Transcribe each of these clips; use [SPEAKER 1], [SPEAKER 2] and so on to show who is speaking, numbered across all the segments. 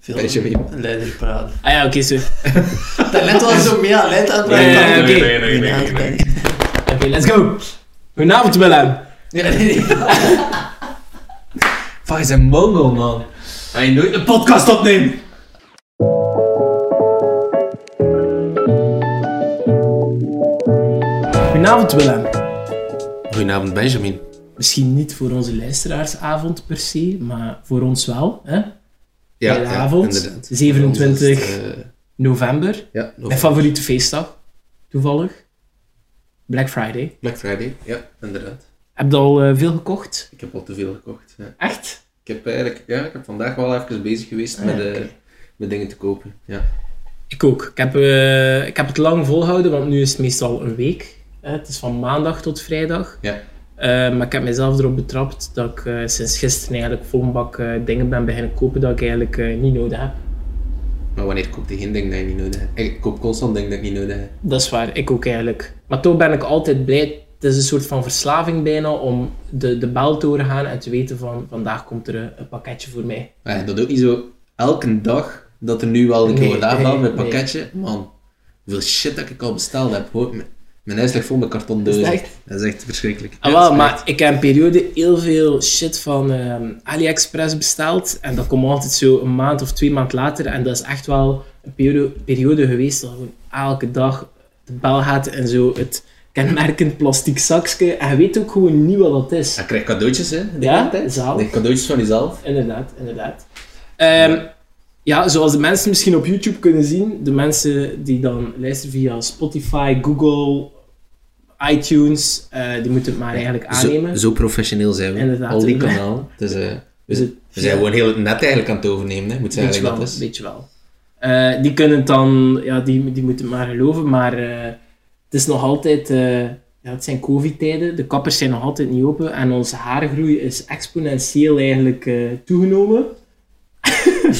[SPEAKER 1] Veel
[SPEAKER 2] Benjamin.
[SPEAKER 1] Leider praten.
[SPEAKER 3] Ah ja, oké, zo. Oké,
[SPEAKER 1] Daarnet was zo mee aan leidt aan het praten.
[SPEAKER 3] Ja, ja, ja, oké.
[SPEAKER 4] nee, nee, nee, nee, nee.
[SPEAKER 3] let's go. Goedenavond, Willem.
[SPEAKER 1] Ja, nee, nee.
[SPEAKER 2] Fuck, is een mongol, man. Ga je nooit een podcast opnemen?
[SPEAKER 3] Goedenavond, Willem.
[SPEAKER 2] Goedenavond, Benjamin.
[SPEAKER 3] Misschien niet voor onze luisteraarsavond per se, maar voor ons wel. Hè? Goedenavond,
[SPEAKER 2] inderdaad.
[SPEAKER 3] 27
[SPEAKER 2] Voor ons is het, eh,
[SPEAKER 3] November.
[SPEAKER 2] ja,
[SPEAKER 3] Mijn favoriete feestdag. Toevallig. Black Friday.
[SPEAKER 2] Black Friday. Ja, inderdaad.
[SPEAKER 3] Heb je al eh, veel gekocht?
[SPEAKER 2] Ik heb al te veel gekocht. Ja.
[SPEAKER 3] Echt?
[SPEAKER 2] Ik heb eigenlijk, ja, ik heb vandaag wel even bezig geweest
[SPEAKER 3] Ah,
[SPEAKER 2] met,
[SPEAKER 3] ja,
[SPEAKER 2] eh,
[SPEAKER 3] oké.
[SPEAKER 2] met dingen te kopen. Ja.
[SPEAKER 3] Ik ook. Ik heb, eh, ik heb het lang volgehouden, want nu is het meestal een week. Hè? Het is van maandag tot vrijdag.
[SPEAKER 2] Ja.
[SPEAKER 3] Eh, maar ik heb mezelf erop betrapt dat ik eh, sinds gisteren eigenlijk vol een bak eh, dingen ben beginnen kopen dat ik eigenlijk eh, niet nodig heb.
[SPEAKER 2] Maar wanneer koop je geen ding dat je niet nodig hebt? Ik koop constant dingen dat ik niet nodig heb.
[SPEAKER 3] Dat is waar, ik ook eigenlijk. Maar toch ben ik altijd blij. Het is een soort van verslaving bijna om de, de bel door te gaan en te weten van vandaag komt er een, een pakketje voor mij.
[SPEAKER 2] Maar ja, dat ook niet zo elke dag dat er nu wel een
[SPEAKER 3] Nee,
[SPEAKER 2] keer wordt aangehaald
[SPEAKER 3] nee,
[SPEAKER 2] met een pakketje. Man, hoeveel shit dat ik al besteld heb. Hoor. M- Mijn huis ligt vol met kartondozen.
[SPEAKER 3] Is dat echt?
[SPEAKER 2] Dat is echt verschrikkelijk.
[SPEAKER 3] Ah,
[SPEAKER 2] Ja, dat
[SPEAKER 3] wel,
[SPEAKER 2] is
[SPEAKER 3] maar
[SPEAKER 2] echt.
[SPEAKER 3] ik heb een periode heel veel shit van ehm, AliExpress besteld. En dat komt altijd zo een maand of twee maand later. En dat is echt wel een periode, periode geweest dat gewoon elke dag de bel gaat en zo het kenmerkend plastic zakje. En je weet ook gewoon niet wat dat is.
[SPEAKER 2] Ik krijg cadeautjes, hè? de
[SPEAKER 3] Ja,
[SPEAKER 2] hele tijd.
[SPEAKER 3] zalig.
[SPEAKER 2] Ik krijg cadeautjes van jezelf.
[SPEAKER 3] Inderdaad, inderdaad. Ehm, ja. zoals de mensen misschien op YouTube kunnen zien, de mensen die dan luisteren via Spotify, Google, iTunes, eh, die moeten het maar eigenlijk aannemen.
[SPEAKER 2] Zo, zo professioneel zijn we.
[SPEAKER 3] Inderdaad,
[SPEAKER 2] Al die
[SPEAKER 3] inderdaad.
[SPEAKER 2] kanaal. Dus, eh, we,
[SPEAKER 3] Dus het-
[SPEAKER 2] we zijn gewoon heel het net eigenlijk aan het overnemen, hè? moet
[SPEAKER 3] Weet je
[SPEAKER 2] zeggen
[SPEAKER 3] wel,
[SPEAKER 2] dat is.
[SPEAKER 3] weet je wel. Eh, die kunnen het dan, ja, die, die moeten het maar geloven, maar eh, het is nog altijd, eh, ja, het zijn covid-tijden, de kappers zijn nog altijd niet open en onze haargroei is exponentieel eigenlijk eh, toegenomen.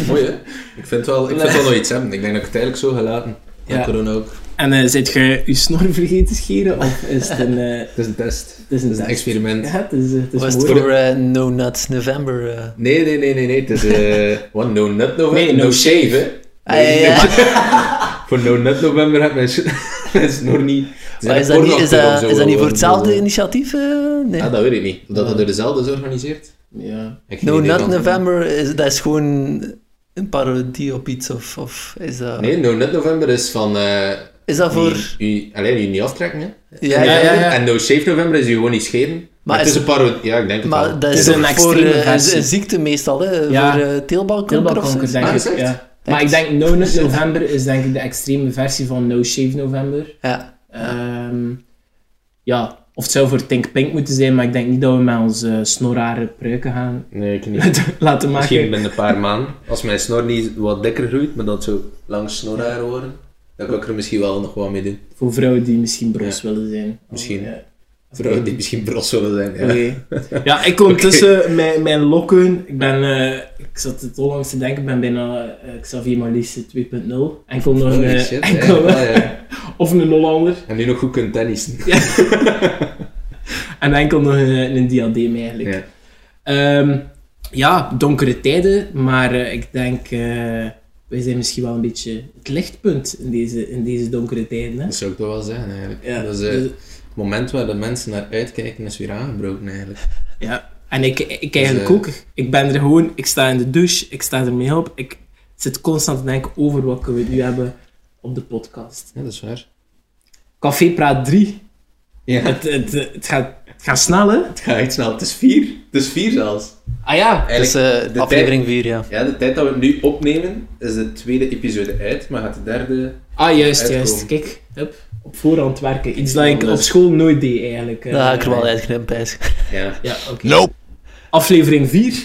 [SPEAKER 2] Mooi, hè? Ik vind wel, ik vind wel nog iets hebben. Ik denk dat ik het eigenlijk zo ga laten. Ja,
[SPEAKER 3] Ja.
[SPEAKER 2] corona ook.
[SPEAKER 3] En eh zit je je snor vergeten scheren of is het een, eh,
[SPEAKER 2] Het is een test.
[SPEAKER 3] het
[SPEAKER 2] Het
[SPEAKER 3] is een
[SPEAKER 2] is een
[SPEAKER 3] test?
[SPEAKER 2] experiment.
[SPEAKER 3] Ja, het is, het is
[SPEAKER 1] Was het
[SPEAKER 3] mooi.
[SPEAKER 1] voor eh, No Nuts November? eh?
[SPEAKER 2] Nee, nee, nee, nee, nee. Het is eh what, no nut november?
[SPEAKER 3] Nee, no
[SPEAKER 2] no, shave, hè?
[SPEAKER 1] Ah, ja, ja.
[SPEAKER 2] Voor no nut november heb mijn sh- mijn snor niet...
[SPEAKER 1] Maar is, dat niet, is, dat, is dat niet voor hetzelfde initiatief? eh? nee.
[SPEAKER 2] Ja, Ah, dat weet ik niet. Dat dat door dezelfde is organiseerd?
[SPEAKER 3] Ja.
[SPEAKER 2] Ik heb
[SPEAKER 1] no
[SPEAKER 2] geen idee
[SPEAKER 1] Nut
[SPEAKER 2] van.
[SPEAKER 1] November, is, dat is gewoon een parodie op iets? Of, of is, dat,
[SPEAKER 2] Nee, no nut november is van... eh
[SPEAKER 1] is dat voor...
[SPEAKER 2] u, alleen je niet aftrekken, hè?
[SPEAKER 1] Ja,
[SPEAKER 3] Ja, ja, ja.
[SPEAKER 2] En no shave november is je gewoon niet scheren. Maar, het
[SPEAKER 1] is-
[SPEAKER 2] is een parodie... Ja, ik denk het
[SPEAKER 1] Maar
[SPEAKER 2] wel.
[SPEAKER 1] dat
[SPEAKER 3] Het
[SPEAKER 1] is,
[SPEAKER 3] is een
[SPEAKER 1] toch voor
[SPEAKER 3] extreme
[SPEAKER 1] eh,
[SPEAKER 3] versie.
[SPEAKER 1] een ziekte meestal, hè?
[SPEAKER 3] Ja.
[SPEAKER 1] voor eh, teelbalkanker of zo.
[SPEAKER 3] Teelbalkanker, denk
[SPEAKER 2] Ah,
[SPEAKER 3] ik.
[SPEAKER 2] dat is echt?
[SPEAKER 3] Ja. Maar ik denk No Nut November is denk ik de extreme versie van No Shave November.
[SPEAKER 1] Ja.
[SPEAKER 3] Ehm, ja, of het zou voor Think Pink moeten zijn, maar ik denk niet dat we met onze snorrare pruiken gaan
[SPEAKER 2] Nee, ik niet.
[SPEAKER 3] laten
[SPEAKER 2] Misschien
[SPEAKER 3] maken.
[SPEAKER 2] binnen een paar maanden. Als mijn snor niet wat dikker groeit, maar dat zo lang snorhaar worden, dan kan ik er misschien wel nog wat mee doen.
[SPEAKER 3] Voor vrouwen die misschien bros willen zijn. Oh,
[SPEAKER 2] Misschien.
[SPEAKER 3] Ja.
[SPEAKER 2] Vrouwen die misschien bros willen zijn. Ja.
[SPEAKER 3] Oké. Ja, ik ondertussen mijn, mijn lokken. Ik ben, eh, ik zat het onlangs te denken, ik ben bijna eh, Xavier Malisse 2.0. En ik kom nog een,
[SPEAKER 2] Holy
[SPEAKER 3] eh,
[SPEAKER 2] Oh, shit,
[SPEAKER 3] enkel,
[SPEAKER 2] ja, ja, ja.
[SPEAKER 3] of een Hollander.
[SPEAKER 2] En nu nog goed kunt tennissen.
[SPEAKER 3] En enkel nog een, een diadeem eigenlijk.
[SPEAKER 2] Ja.
[SPEAKER 3] Ehm, ja, donkere tijden, maar eh, ik denk, eh, wij zijn misschien wel een beetje het lichtpunt in deze, in deze donkere tijden. Hè?
[SPEAKER 2] Dat zou ik toch wel zeggen eigenlijk.
[SPEAKER 3] Ja,
[SPEAKER 2] dat is, eh,
[SPEAKER 3] dus-
[SPEAKER 2] het moment waar de mensen naar uitkijken is weer aangebroken eigenlijk.
[SPEAKER 3] Ja, en ik, ik eigenlijk
[SPEAKER 2] eh,
[SPEAKER 3] ook. Ik ben er gewoon, ik sta in de douche, ik sta ermee op. Ik zit constant te denken over wat kunnen we nu hebben op de podcast.
[SPEAKER 2] Ja, dat is waar.
[SPEAKER 3] Café Praat 3.
[SPEAKER 2] Ja,
[SPEAKER 3] Het, het, het, gaat, het gaat snel, hè?
[SPEAKER 2] het gaat echt snel. Het is vier. Het is vier zelfs.
[SPEAKER 3] Ah ja.
[SPEAKER 1] Dus
[SPEAKER 2] Eigenlijk,
[SPEAKER 1] eh,
[SPEAKER 2] de
[SPEAKER 1] aflevering 4, ja.
[SPEAKER 2] ja, de tijd dat we het nu opnemen, is de tweede episode uit, maar gaat de derde...
[SPEAKER 3] Ah, juist,
[SPEAKER 2] Uitkomen.
[SPEAKER 3] juist. Kijk, hup. Op voorhand werken. Iets dat ik
[SPEAKER 2] Anders. Nou,
[SPEAKER 3] op school nooit deed, eigenlijk. eh.
[SPEAKER 1] Dat ga ik er wel uitknippen, Pijs.
[SPEAKER 2] Ja.
[SPEAKER 3] Ja, oké. Aflevering 4.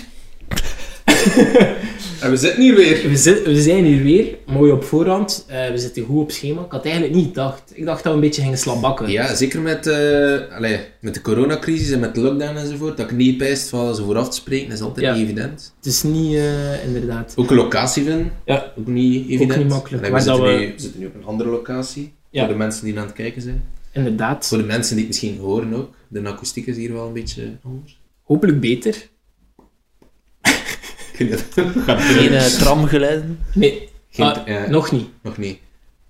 [SPEAKER 2] En we zitten hier weer.
[SPEAKER 3] We, zit- we zijn hier weer, mooi op voorhand. Eh, we zitten goed op schema. Ik had eigenlijk niet gedacht. Ik dacht dat we een beetje gingen slabakken.
[SPEAKER 2] Ja, zeker met, eh, allee, met de coronacrisis en met de lockdown enzovoort. Dat ik niet pijst van ze vooraf te spreken, is altijd
[SPEAKER 3] Ja.
[SPEAKER 2] niet evident.
[SPEAKER 3] Het is niet, eh, inderdaad.
[SPEAKER 2] Ook een locatie vinden,
[SPEAKER 3] Ja.
[SPEAKER 2] ook niet evident.
[SPEAKER 3] niet makkelijk.
[SPEAKER 2] Allee,
[SPEAKER 3] Maar
[SPEAKER 2] we, zitten
[SPEAKER 3] dat we-
[SPEAKER 2] Nu, we zitten nu op een andere locatie,
[SPEAKER 3] Ja.
[SPEAKER 2] voor de mensen die aan het kijken zijn.
[SPEAKER 3] Inderdaad.
[SPEAKER 2] Voor de mensen die het misschien horen ook. De akoestiek is hier wel een beetje anders.
[SPEAKER 3] Hopelijk beter.
[SPEAKER 1] Geen eh, tramgeluiden.
[SPEAKER 3] Nee,
[SPEAKER 2] Geen-
[SPEAKER 3] ah,
[SPEAKER 2] ja.
[SPEAKER 3] nog niet.
[SPEAKER 2] Nog niet.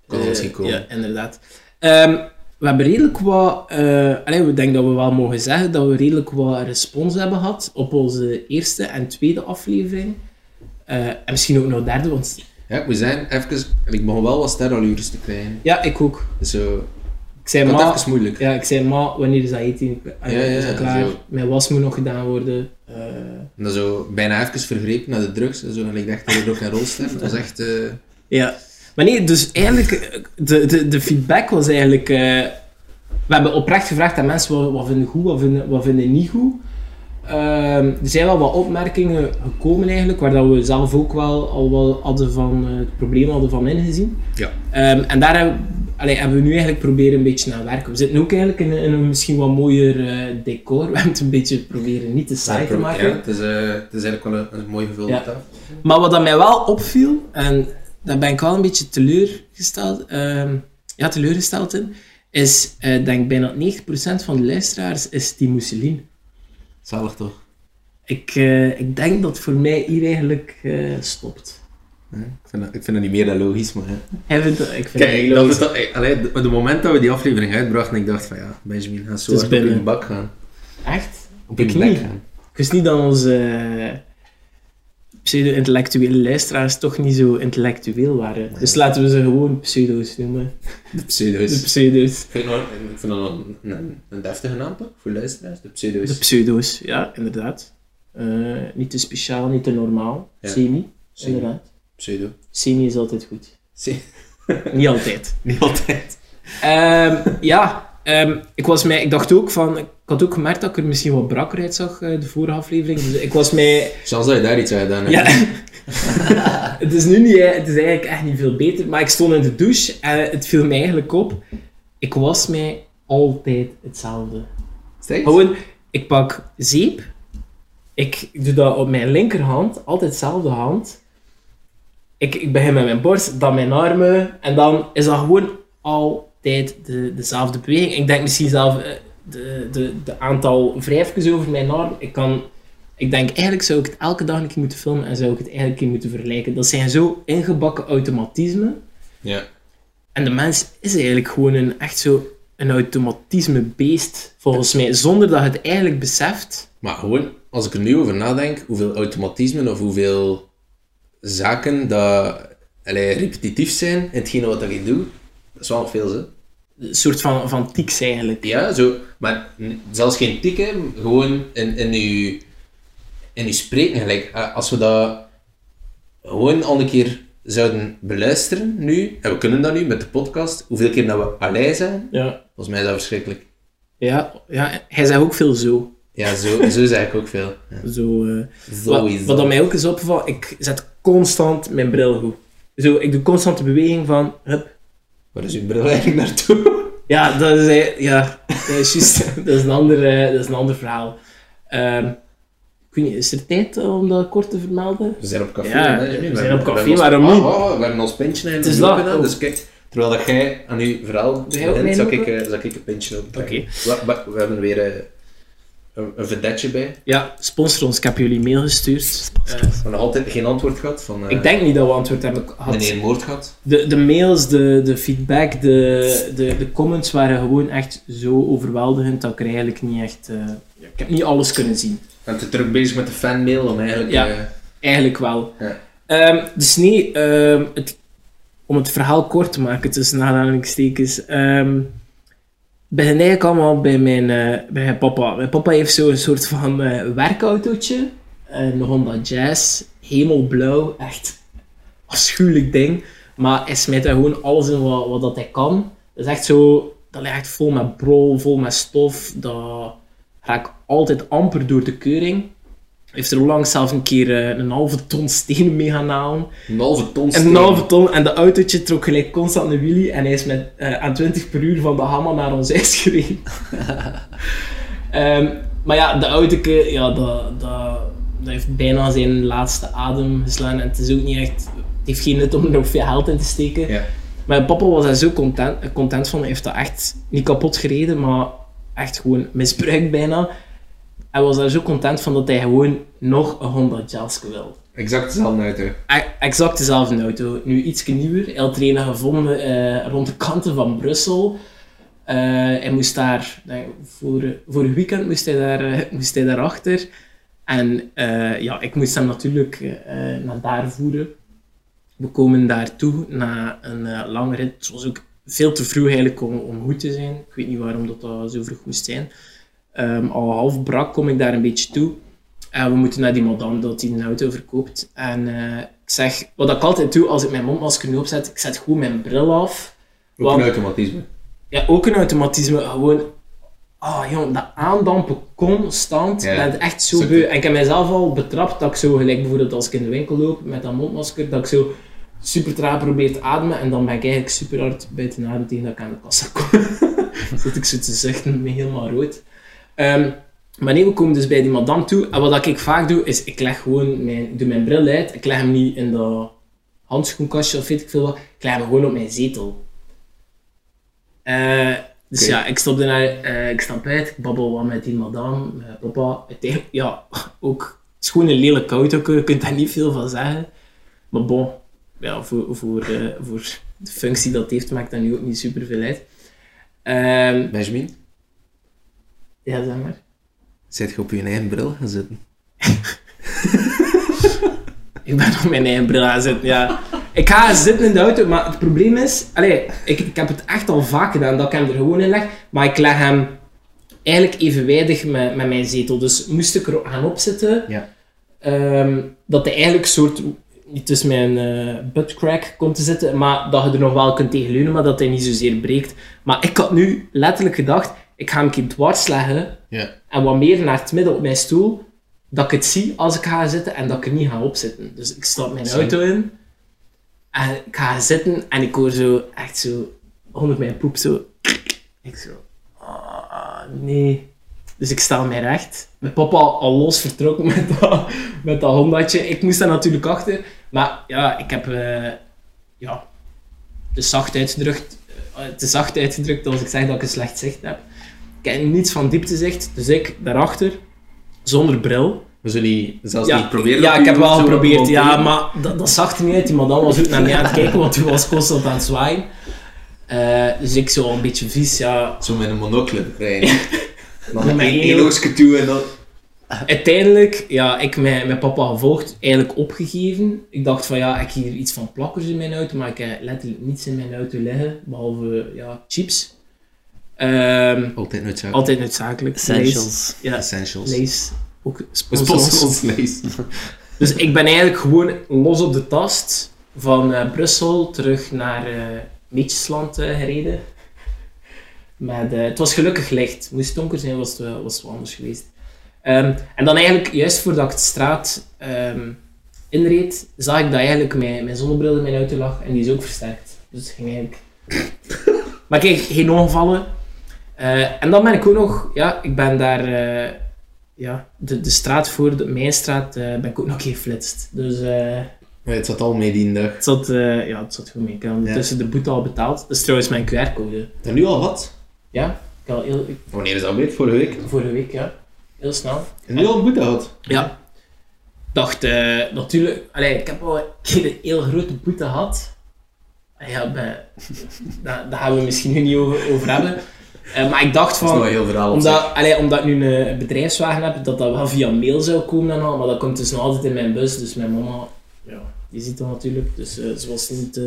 [SPEAKER 2] Kan
[SPEAKER 3] Eh,
[SPEAKER 2] misschien komen.
[SPEAKER 3] Ja, inderdaad. Ehm, we hebben redelijk wat... eh allee, we denken dat we wel mogen zeggen dat we redelijk wat respons hebben gehad op onze eerste en tweede aflevering. Eh, en misschien ook nog derde, want...
[SPEAKER 2] Ja, ik moet zeggen, even, en ik begon wel wat sterrenallures te krijgen. Dus
[SPEAKER 3] Ja, ik ook.
[SPEAKER 2] Zo,
[SPEAKER 3] Ik zei
[SPEAKER 2] dat
[SPEAKER 3] maar...
[SPEAKER 2] is even moeilijk.
[SPEAKER 3] Ja, ik zei maar, wanneer is dat eten? Eh,
[SPEAKER 2] Ja, ja,
[SPEAKER 3] is dat klaar?
[SPEAKER 2] zo.
[SPEAKER 3] Mijn was moet nog gedaan worden. Eh,
[SPEAKER 2] En dan zo bijna even vergrepen naar de drugs en zo. En ik dacht dat er ook een rol ster. Dat was echt... eh,
[SPEAKER 3] Ja. Maar nee, dus eigenlijk, eh, de, de, de feedback was eigenlijk... eh, we hebben oprecht gevraagd aan mensen wat, wat vinden goed, wat vinden, wat vinden niet goed. Ehm, er zijn wel wat opmerkingen gekomen eigenlijk, waar dat we zelf ook wel al wel hadden van, eh, het probleem hadden van ingezien.
[SPEAKER 2] Ja.
[SPEAKER 3] Ehm, en daar hebben, allee, hebben we nu eigenlijk proberen een beetje aan werken. We zitten ook eigenlijk in, een- in een misschien wat mooier eh, decor. We hebben het een beetje proberen niet te saai te maken.
[SPEAKER 2] Ja, het, is, eh, het is eigenlijk wel een, een mooi gevulde
[SPEAKER 3] Ja.
[SPEAKER 2] tafel.
[SPEAKER 3] Maar wat dat mij wel opviel, en daar ben ik wel een beetje teleurgesteld, ehm, ja, teleurgesteld in, is, eh denk ik, bijna 90% van de luisteraars is die Mousseline.
[SPEAKER 2] Zalig toch?
[SPEAKER 3] Ik, eh, ik denk dat voor mij hier eigenlijk eh, stopt.
[SPEAKER 2] Ja, ik, vind dat, ik vind dat niet meer dan logisch, maar... ja.
[SPEAKER 3] Hij vindt dat- ik vind dat
[SPEAKER 2] Kijk, dat is dat, eh, allee, de, de moment dat we die aflevering uitbrachten, ik dacht van ja, Benjamin gaat zo
[SPEAKER 3] Het is
[SPEAKER 2] hard op
[SPEAKER 3] binnen.
[SPEAKER 2] in bak gaan.
[SPEAKER 3] echt...
[SPEAKER 2] Op
[SPEAKER 3] Ik
[SPEAKER 2] in bek
[SPEAKER 3] niet.
[SPEAKER 2] gaan.
[SPEAKER 3] Ik wist niet dat onze eh, pseudo-intellectuele luisteraars toch niet zo intellectueel waren. Dus laten we ze gewoon pseudo's noemen.
[SPEAKER 2] De pseudo's.
[SPEAKER 3] De pseudo's.
[SPEAKER 2] Ik vind, dat- ik vind dat een, een, een deftige naam toch? Voor luisteraars, de pseudo's.
[SPEAKER 3] De pseudo's, ja, inderdaad. Eh, niet te speciaal, niet te normaal.
[SPEAKER 2] Ja.
[SPEAKER 3] Semi,
[SPEAKER 2] Semi.
[SPEAKER 3] inderdaad.
[SPEAKER 2] Pseudo.
[SPEAKER 3] Semi is altijd goed.
[SPEAKER 2] Zie-
[SPEAKER 3] Niet altijd.
[SPEAKER 2] Niet altijd.
[SPEAKER 3] Ehm, ja, ehm, ik, was mij, ik dacht ook van... Ik had ook gemerkt dat ik er misschien wat brakker uitzag, eh, de vorige aflevering. Dus ik was mij...
[SPEAKER 2] Chans dat je daar iets aan gedaan hebt.
[SPEAKER 3] Ja. het is nu niet... eh, Het is eigenlijk echt niet veel beter. Maar ik stond in de douche en het viel mij eigenlijk op. Ik was mij altijd hetzelfde.
[SPEAKER 2] Steeds?
[SPEAKER 3] Gewoon, ik pak zeep. Ik doe dat op mijn linkerhand, altijd dezelfde hand. Ik, ik begin met mijn borst, dan mijn armen. En dan is dat gewoon altijd de, dezelfde beweging. Ik denk misschien zelf eh, de, de, de aantal wrijfjes over mijn arm. Ik, kan, ik denk eigenlijk zou ik het elke dag een keer moeten filmen en zou ik het eigenlijk een keer moeten vergelijken. Dat zijn zo ingebakken automatismen.
[SPEAKER 2] Ja.
[SPEAKER 3] En de mens is eigenlijk gewoon een, echt zo een automatisme beest, volgens mij. Zonder dat je het eigenlijk beseft.
[SPEAKER 2] Maar gewoon, als ik er nu over nadenk, hoeveel automatismen of hoeveel zaken dat allee, repetitief zijn in hetgene wat dat je doet, dat is wel nog veel, hè?
[SPEAKER 3] Een soort van, van tics eigenlijk.
[SPEAKER 2] Ja, zo. Maar n- zelfs geen tikken, gewoon in, in, uw, in uw spreken. Gelijk, eh, als we dat gewoon al een keer zouden beluisteren nu, en we kunnen dat nu met de podcast, hoeveel keer dat we allee zijn,
[SPEAKER 3] Ja.
[SPEAKER 2] volgens mij is dat verschrikkelijk.
[SPEAKER 3] Ja, ja, hij zegt ook veel zo.
[SPEAKER 2] Ja, zo, zo zeg ik ook veel. Ja.
[SPEAKER 3] zo eh.
[SPEAKER 2] Sowieso.
[SPEAKER 3] Wat, wat dan mij ook is opgevallen, ik zet constant mijn bril goed. Zo, ik doe constant de beweging van, hup.
[SPEAKER 2] Waar is uw bril eigenlijk naartoe?
[SPEAKER 3] Ja, dat is, eigenlijk- ja, dat is juist, dat is een ander, eh, dat is een ander verhaal. Ehm, ik weet niet, is er tijd eh, om dat kort te vermelden?
[SPEAKER 2] We zijn op café.
[SPEAKER 3] Ja,
[SPEAKER 2] hè, Jimmy?
[SPEAKER 3] we zijn op café,
[SPEAKER 2] hebben ons-
[SPEAKER 3] waarom niet?
[SPEAKER 2] Ah, ah, we hebben ons pintje en
[SPEAKER 3] is
[SPEAKER 2] een
[SPEAKER 3] dat.
[SPEAKER 2] lopen aan, dus kijk. Terwijl dat jij aan uw verhaal
[SPEAKER 3] Doe jij ook
[SPEAKER 2] begint,
[SPEAKER 3] mee
[SPEAKER 2] zal ik,
[SPEAKER 3] lopen?
[SPEAKER 2] eh, zal ik een pintje open.
[SPEAKER 3] Oké.
[SPEAKER 2] We, we- we hebben weer eh, een, een vedetje bij.
[SPEAKER 3] Ja, sponsor ons. Ik heb jullie mail gestuurd. Eh,
[SPEAKER 2] We hebben nog altijd geen antwoord gehad van eh
[SPEAKER 3] ik denk niet dat we antwoord hebben gehad.
[SPEAKER 2] meneer Moord gehad.
[SPEAKER 3] De, de mails, de, de feedback, de, de, de comments waren gewoon echt zo overweldigend dat ik er eigenlijk niet echt... eh, ik heb niet alles kunnen zien.
[SPEAKER 2] We zijn te druk bezig met de fanmail om eigenlijk...
[SPEAKER 3] Ja.
[SPEAKER 2] eh,
[SPEAKER 3] Eigenlijk wel.
[SPEAKER 2] Ja.
[SPEAKER 3] Ehm, dus nee, ehm, het, om het verhaal kort te maken tussen aanhalingstekens. ehm begin eigenlijk allemaal bij mijn, eh, bij mijn papa. Mijn papa heeft zo'n soort van eh, werkautootje. Een Honda Jazz. Hemelblauw. Echt afschuwelijk ding. Maar hij smijt daar gewoon alles in wat, wat dat hij kan. Dat is echt zo... Dat ligt echt vol met brol, vol met stof. Dat raakt altijd amper door de keuring. Heeft er onlangs zelf een keer eh, een halve ton stenen mee gaan halen.
[SPEAKER 2] een halve ton
[SPEAKER 3] En
[SPEAKER 2] steen.
[SPEAKER 3] een halve ton. En de autootje trok gelijk constant een wheelie. En hij is met, eh, aan 20 per uur van de Bahama naar ons huis gereden. Ehm, maar ja, de autootje, ja, dat, dat, dat heeft bijna zijn laatste adem geslaan. En het is ook niet echt... Het heeft geen nut om er nog veel geld in te steken.
[SPEAKER 2] Ja.
[SPEAKER 3] Mijn papa was daar zo content, content van. Hij heeft dat echt niet kapot gereden, maar echt gewoon misbruikt bijna. Hij was daar zo content van dat hij gewoon nog een Honda Jazz wil.
[SPEAKER 2] Exact dezelfde auto.
[SPEAKER 3] E- Exact dezelfde auto. Nu iets nieuwer. Hij had er een gevonden eh, rond de kanten van Brussel. Eh, hij moest daar, denk, ik, voor, voor een weekend moest hij, daar, eh, moest hij daarachter. En eh, ja, ik moest hem natuurlijk eh, eh, naar daar voeren. We komen daartoe na een eh, lange rit. Het was ook veel te vroeg eigenlijk om, om goed te zijn. Ik weet niet waarom dat, dat zo vroeg moest zijn. Ehm, al half brak kom ik daar een beetje toe. En Eh, we moeten naar die madame dat die een auto verkoopt. En eh, ik zeg, wat ik altijd doe als ik mijn mondmasker opzet, ik zet gewoon mijn bril af.
[SPEAKER 2] Ook
[SPEAKER 3] Want-
[SPEAKER 2] een automatisme.
[SPEAKER 3] Ja, ook een automatisme. Gewoon, ah jong, dat aandampen constant.
[SPEAKER 2] Ja.
[SPEAKER 3] Ik ben echt zo
[SPEAKER 2] Super.
[SPEAKER 3] beu. En ik heb mijzelf al betrapt dat ik zo, gelijk bijvoorbeeld als ik in de winkel loop met dat mondmasker, dat ik zo super traag probeer te ademen. En dan ben ik eigenlijk super hard buiten adem tegen dat ik aan de kassa kom. Zit ik zo te zuchten, me helemaal rood. Ehm, maar nee, we komen dus bij die madame toe. En wat ik vaak doe, is ik leg gewoon mijn, ik doe mijn bril uit. Ik leg hem niet in dat handschoenkastje of weet ik veel wat. Ik leg hem gewoon op mijn zetel. Eh, dus
[SPEAKER 2] Oké.
[SPEAKER 3] ja, ik stap daarna, eh, ik stap uit, ik babbel wat met die madame, met papa. Uiteindelijk, ja, ook, het is gewoon een lelijke auto, je kunt daar niet veel van zeggen. Maar bon, ja, voor, voor, eh, voor de functie dat het heeft, maakt dat nu ook niet super veel uit. Ehm,
[SPEAKER 2] Benjamin,
[SPEAKER 3] ja, zeg maar.
[SPEAKER 2] zit je op je eigen bril gaan zitten?
[SPEAKER 3] Ik ben op mijn eigen bril aan zitten, ja. Ik ga zitten in de auto, maar het probleem is... Allee, ik, ik heb het echt al vaak gedaan dat ik hem er gewoon in leg. Maar ik leg hem eigenlijk evenwijdig met, met mijn zetel. Dus moest ik er gaan opzitten...
[SPEAKER 2] Ja.
[SPEAKER 3] ehm, dat hij eigenlijk soort... Niet tussen mijn eh, buttcrack komt te zitten, maar dat je er nog wel kunt tegen leunen, maar dat hij niet zozeer breekt. Maar ik had nu letterlijk gedacht, ik ga hem een keer dwars leggen
[SPEAKER 2] Ja.
[SPEAKER 3] en wat meer naar het midden op mijn stoel, dat ik het zie als ik ga zitten en dat ik er niet ga opzitten. Dus ik stap mijn
[SPEAKER 2] Slim.
[SPEAKER 3] auto in en ik ga zitten en ik hoor zo echt zo onder mijn poep zo. Ik zo, ah nee. Dus ik sta mij recht. Mijn papa al los vertrokken met dat, met dat Hondaatje. Ik moest daar natuurlijk achter. Maar ja, ik heb eh, ja, te zacht uitgedrukt. eh, te zacht uitgedrukt als ik zeg dat ik een slecht zicht heb. Ik heb niets van dieptezicht, dus ik daarachter, zonder bril.
[SPEAKER 2] We zullen die zelfs niet proberen.
[SPEAKER 3] ja
[SPEAKER 2] op
[SPEAKER 3] ik
[SPEAKER 2] je
[SPEAKER 3] heb wel
[SPEAKER 2] hoofd te
[SPEAKER 3] geprobeerd, ja,
[SPEAKER 2] monteren.
[SPEAKER 3] maar dat, dat zag er niet uit. Die madame was ook naar mij aan het kijken, want die was constant aan het zwaaien. Eh, dus ik zo al een beetje vies, ja.
[SPEAKER 2] Zo met een monocle rijden.
[SPEAKER 3] Met
[SPEAKER 2] Dan
[SPEAKER 3] mijn
[SPEAKER 2] één één
[SPEAKER 3] heel-
[SPEAKER 2] oogstje toe en dan...
[SPEAKER 3] Uiteindelijk, ja, ik mijn, mijn papa gevolgd, eigenlijk opgegeven. Ik dacht van ja, ik heb hier iets van plakkers in mijn auto, maar ik heb letterlijk niets in mijn auto liggen, behalve ja, chips. Ehm,
[SPEAKER 2] Altijd noodzakelijk.
[SPEAKER 3] altijd noodzakelijk.
[SPEAKER 1] Essentials.
[SPEAKER 3] Lees. Ja,
[SPEAKER 2] Essentials.
[SPEAKER 3] lees. Ook sponsor
[SPEAKER 2] Sponsor
[SPEAKER 3] ons.
[SPEAKER 2] ons lees.
[SPEAKER 3] Dus ik ben eigenlijk gewoon los op de tast van eh, Brussel terug naar eh Meetjesland eh, gereden. Met, eh, het was gelukkig licht. Moest het donker zijn, was het, wel- was het wel anders geweest. Ehm, en dan eigenlijk, juist voordat ik de straat ehm, inreed, zag ik dat eigenlijk mijn, mijn zonnebril in mijn auto lag. En die is ook versterkt. Dus het ging eigenlijk... maar kijk, geen ongevallen. Eh, en dan ben ik ook nog... Ja, ik ben daar... eh, ja, de, de straat voor de, mijn straat eh, ben ik ook nog geflitst. Dus eh,
[SPEAKER 2] Ja, Het zat al mee die dag.
[SPEAKER 3] het, zat, eh, ja, het zat goed mee. Ik had ondertussen de boete al betaald. Dat is trouwens mijn QR-code.
[SPEAKER 2] Dan nu al wat?
[SPEAKER 3] Ja, ik had heel, ik-
[SPEAKER 2] Wanneer is dat weer? Vorige week?
[SPEAKER 3] vorige week, ja. Heel snel.
[SPEAKER 2] En nu al een boete gehad?
[SPEAKER 3] Ja. Ik dacht, eh, natuurlijk... Allee, ik heb al een keer een heel grote boete gehad. Ah Ja, ben, daar, daar gaan we misschien nu niet over, over hebben. Eh, maar ik dacht
[SPEAKER 2] Dat is nog
[SPEAKER 3] van...
[SPEAKER 2] een heel verhaal. op zich.
[SPEAKER 3] Omdat, allee, omdat ik nu een bedrijfswagen heb, dat dat wel via mail zou komen en al, maar dat komt dus nog altijd in mijn bus. Dus mijn mama, ja, die ziet dat natuurlijk. Dus eh, ze was niet, eh,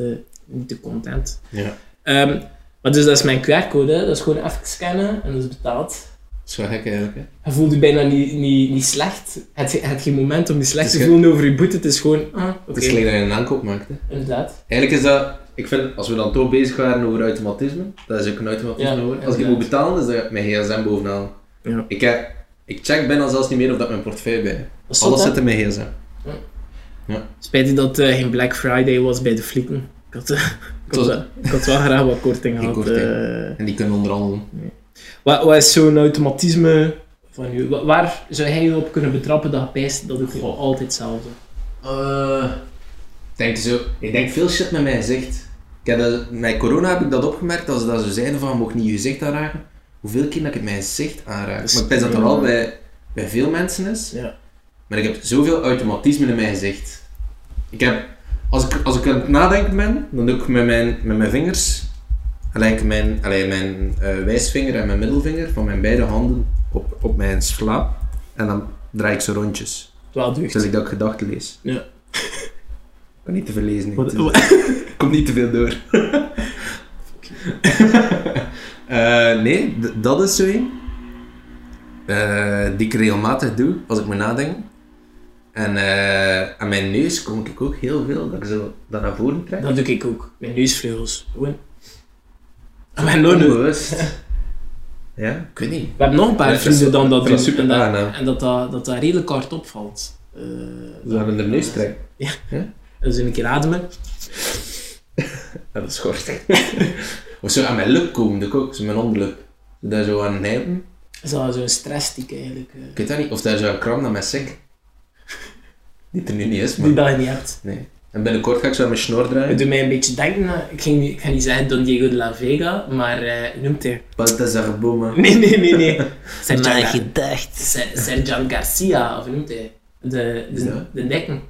[SPEAKER 3] niet te content.
[SPEAKER 2] Ja,
[SPEAKER 3] Ehm, maar dus dat is mijn QR-code, hè. dat is gewoon even scannen en dat is betaald.
[SPEAKER 2] dat is wel gek eigenlijk. Hè?
[SPEAKER 3] Je voelt je bijna niet, niet, niet slecht. Het, het geen moment om je slecht
[SPEAKER 2] Het
[SPEAKER 3] te
[SPEAKER 2] is ge-
[SPEAKER 3] voelen over je boete. Het is gewoon, ah, oké,
[SPEAKER 2] Het is gelijk dat je een aankoop maakt. Hè?
[SPEAKER 3] inderdaad.
[SPEAKER 2] Eigenlijk is dat, ik vind, als we dan toch bezig waren over automatisme, dat is ook een automatisme
[SPEAKER 3] Ja,
[SPEAKER 2] hoor. Als ik
[SPEAKER 3] inderdaad.
[SPEAKER 2] moet betalen, is dat mijn gsm bovenaan.
[SPEAKER 3] Ja.
[SPEAKER 2] Ik, heb, ik check bijna zelfs niet meer of dat mijn portefeuille bij.
[SPEAKER 3] Dat is
[SPEAKER 2] Alles
[SPEAKER 3] zot, hè?
[SPEAKER 2] zit in mijn gsm.
[SPEAKER 3] Spijtig dat eh geen Black Friday was bij de flieken. Ik had, eh, ik, had,
[SPEAKER 2] was-
[SPEAKER 3] wel- ik had wel graag wat korting
[SPEAKER 2] Geen
[SPEAKER 3] gehad.
[SPEAKER 2] korting.
[SPEAKER 3] eh.
[SPEAKER 2] En die kunnen onderhandelen.
[SPEAKER 3] Wat, wat is zo'n automatisme van u? Wa- Waar zou hij je op kunnen betrappen dat je pijst dat ik
[SPEAKER 2] Goh.
[SPEAKER 3] altijd hetzelfde?
[SPEAKER 2] Eh, ik denk zo, ik denk veel shit met mijn gezicht. Ik heb dat, met corona heb ik dat opgemerkt, als ze dat zo zeiden van, je mag niet je gezicht aanraken. Hoeveel keer dat ik mijn gezicht aanraak.
[SPEAKER 3] Dat is-
[SPEAKER 2] maar ik denk dat dat wel bij, bij veel mensen is.
[SPEAKER 3] Ja.
[SPEAKER 2] Maar ik heb zoveel automatisme in mijn gezicht. Ik heb, als ik, als ik aan het nadenken ben, dan doe ik met mijn, met mijn vingers, gelijk mijn, allee, mijn eh, wijsvinger en mijn middelvinger van mijn beide handen op, op mijn slaap. En dan draai ik ze rondjes.
[SPEAKER 3] Wel deugd.
[SPEAKER 2] Zodat ik dat ik gedachten lees.
[SPEAKER 3] Ja.
[SPEAKER 2] Ik kan niet te veel lezen.
[SPEAKER 3] Wat-
[SPEAKER 2] nu. Komt niet te veel door. Eh, nee, d- dat is zo één. Eh, die ik regelmatig doe als ik moet nadenken. En eh, aan mijn neus kom ik ook heel veel dat ik zo dat naar voren trek.
[SPEAKER 3] Dat doe ik ook. Mijn neusvleugels. Gewoon. Ah, En mijn longen.
[SPEAKER 2] Onbewust. ja, ik weet niet.
[SPEAKER 3] We hebben nog een paar
[SPEAKER 2] Ja, dat is
[SPEAKER 3] vrienden dan dat
[SPEAKER 2] dat is
[SPEAKER 3] doen.
[SPEAKER 2] super
[SPEAKER 3] en dat,
[SPEAKER 2] aangenaam.
[SPEAKER 3] en dat, dat, dat dat redelijk hard opvalt. Eh,
[SPEAKER 2] Ze gaan in de neus trekken.
[SPEAKER 3] Dus een keer ademen.
[SPEAKER 2] Ja, dat is schort. of zo aan mijn lip komen, doe ik ook. Zo mijn onderlip. Daar zo aan nijpen.
[SPEAKER 3] Dat is wel zo'n stressstiek eigenlijk. eh,
[SPEAKER 2] Ik weet dat niet. Of daar zou kram naar mijn sink. Die er nu niet is, maar...
[SPEAKER 3] die dat je niet hebt.
[SPEAKER 2] Nee. En binnenkort ga ik zo aan mijn snor
[SPEAKER 3] Het
[SPEAKER 2] draaien.
[SPEAKER 3] doet mij een beetje denken aan- ik, ging, ik ga niet zeggen Don Diego de la Vega, maar eh, hoe noemt hij?
[SPEAKER 2] Balthazar Boma.
[SPEAKER 3] Nee, nee, nee, nee. Sergio,
[SPEAKER 1] Mijn
[SPEAKER 3] Gar-
[SPEAKER 1] gedacht.
[SPEAKER 3] Se- Sergeant Garcia, of hoe noemt hij? De, de,
[SPEAKER 2] Ja.
[SPEAKER 3] de nekken.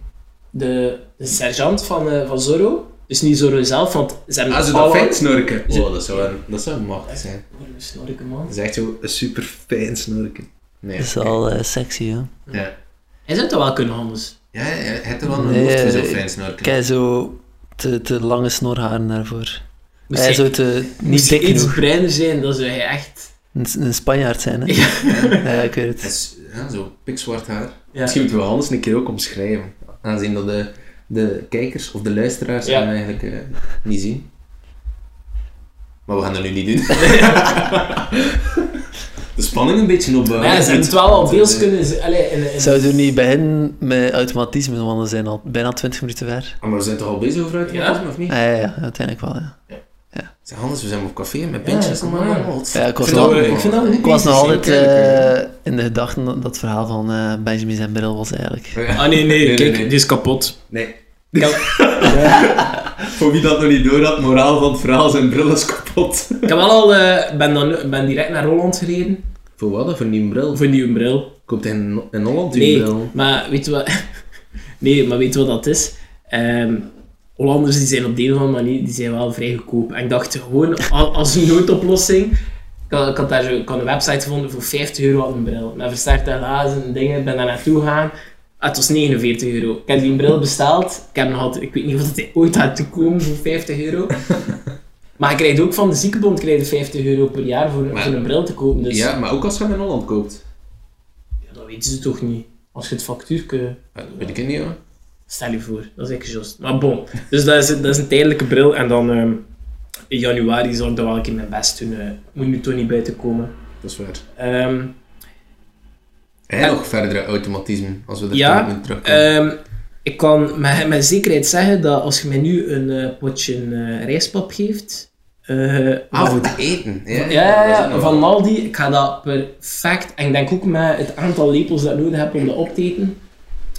[SPEAKER 3] De, de sergeant van, eh, van Zorro. Dus niet Zorro zelf, want ze hebben
[SPEAKER 2] Ah, zo dat fijn snorken. Oh, dat zou, een, dat zou een macht zijn.
[SPEAKER 3] Oh, een snorke man.
[SPEAKER 2] Dat is echt zo een super fijn snorken. Nee.
[SPEAKER 1] Dat is al eh, sexy, hè.
[SPEAKER 2] Ja.
[SPEAKER 3] Hij zou dat wel kunnen, anders.
[SPEAKER 2] Ja, hij heeft er wel een
[SPEAKER 1] Nee,
[SPEAKER 2] hoofd voor zo
[SPEAKER 1] eh,
[SPEAKER 2] fijn snorken.
[SPEAKER 1] Kijk, zo te, te lange snorharen daarvoor.
[SPEAKER 3] Moest
[SPEAKER 1] Hij
[SPEAKER 3] hij,
[SPEAKER 1] zou te, niet
[SPEAKER 3] moest hij
[SPEAKER 1] dik
[SPEAKER 3] iets
[SPEAKER 1] genoeg.
[SPEAKER 3] bruiner zijn, dan zou hij echt...
[SPEAKER 1] Een, een Spanjaard zijn, hè. Ja, ik weet
[SPEAKER 2] Het
[SPEAKER 1] het.
[SPEAKER 2] is ja, zo pikzwart haar.
[SPEAKER 3] Ja.
[SPEAKER 2] Misschien moeten we Hans een keer ook omschrijven. Aangezien dat de, de kijkers of de luisteraars
[SPEAKER 3] Ja.
[SPEAKER 2] hem eigenlijk eh, niet zien. Maar we gaan dat nu niet doen. de spanning een beetje eh,
[SPEAKER 3] Maar
[SPEAKER 2] opbouwen.
[SPEAKER 3] ja, ze hebben het wel al deels kunnen... z- Allee, in, in-
[SPEAKER 1] Zou je niet beginnen met automatisme, want we zijn al bijna 20 minuten ver.
[SPEAKER 2] Ah, Maar we zijn toch al bezig over automatisme, of niet?
[SPEAKER 1] Ah, ja, ja, uiteindelijk wel, ja.
[SPEAKER 2] Zeg, Hans, we zijn op café met
[SPEAKER 3] Ja,
[SPEAKER 2] pintjes.
[SPEAKER 3] kom
[SPEAKER 2] allemaal.
[SPEAKER 3] maar.
[SPEAKER 2] Wat
[SPEAKER 1] Ja, ik was
[SPEAKER 2] vind dat
[SPEAKER 1] nog-
[SPEAKER 2] we-
[SPEAKER 3] ik vind dat we-
[SPEAKER 1] Ik was nog altijd
[SPEAKER 2] Zeker,
[SPEAKER 1] eh, in de gedachten dat, dat verhaal van eh, Benjamin zijn bril was eigenlijk.
[SPEAKER 3] Ah, nee, nee,
[SPEAKER 2] Oh, Nee,
[SPEAKER 3] kijk,
[SPEAKER 2] nee, nee.
[SPEAKER 3] die is kapot.
[SPEAKER 2] Nee.
[SPEAKER 3] Ik heb,
[SPEAKER 2] Voor wie dat nog niet door had, moraal van het verhaal, zijn bril is kapot.
[SPEAKER 3] ik heb wel al... eh, ben, dan, ben direct naar Holland gereden.
[SPEAKER 2] Voor wat? Voor een nieuwe bril?
[SPEAKER 3] Voor een nieuwe bril.
[SPEAKER 2] Komt hij in, in Holland uw
[SPEAKER 3] Nee,
[SPEAKER 2] bril?
[SPEAKER 3] maar weet je wat... Nee, maar weet je wat dat is? Ehm, Hollanders die zijn op de een of andere manier die zijn wel vrij goedkoop. En ik dacht gewoon, al- als een noodoplossing... Ik had, ik had daar zo, ik had een website gevonden voor 50 euro had een bril. Met versterkte glazen en dingen. Ik ben daar naartoe gegaan. Ah, het was 49 euro. Ik heb die bril besteld. Ik, heb nog altijd, ik weet niet of hij ooit gaat toekomen voor 50 euro. Maar je krijgt ook van de ziekenbond krijg je 50 euro per jaar voor,
[SPEAKER 2] Maar-
[SPEAKER 3] voor een bril te kopen. Dus
[SPEAKER 2] Ja, maar ook als je hem in Holland koopt.
[SPEAKER 3] ja, dat weten ze toch niet. Als je het factuur kunt...
[SPEAKER 2] Ja, dat Ah, weet ik niet hoor.
[SPEAKER 3] Stel je voor, dat is ik just. Maar bon, dus dat is, dat is een tijdelijke bril. En dan ehm, in januari zal ik dat wel een keer mijn best doen. eh. moet nu toch niet buiten komen.
[SPEAKER 2] Dat is waar.
[SPEAKER 3] Ehm,
[SPEAKER 2] En nog verdere automatisme, als we er
[SPEAKER 3] Ja,
[SPEAKER 2] terug moeten terugkomen.
[SPEAKER 3] ehm, ik kan met, met zekerheid zeggen dat als je mij nu een eh, potje eh, rijstpap geeft... eh,
[SPEAKER 2] ah, voor het eten. Ja,
[SPEAKER 3] Ja,
[SPEAKER 2] dat is
[SPEAKER 3] ja,
[SPEAKER 2] nou? ook
[SPEAKER 3] ja,
[SPEAKER 2] nog
[SPEAKER 3] van
[SPEAKER 2] wel.
[SPEAKER 3] Aldi. Ik ga dat perfect. En ik denk ook met het aantal lepels dat ik nodig heb om dat op te eten,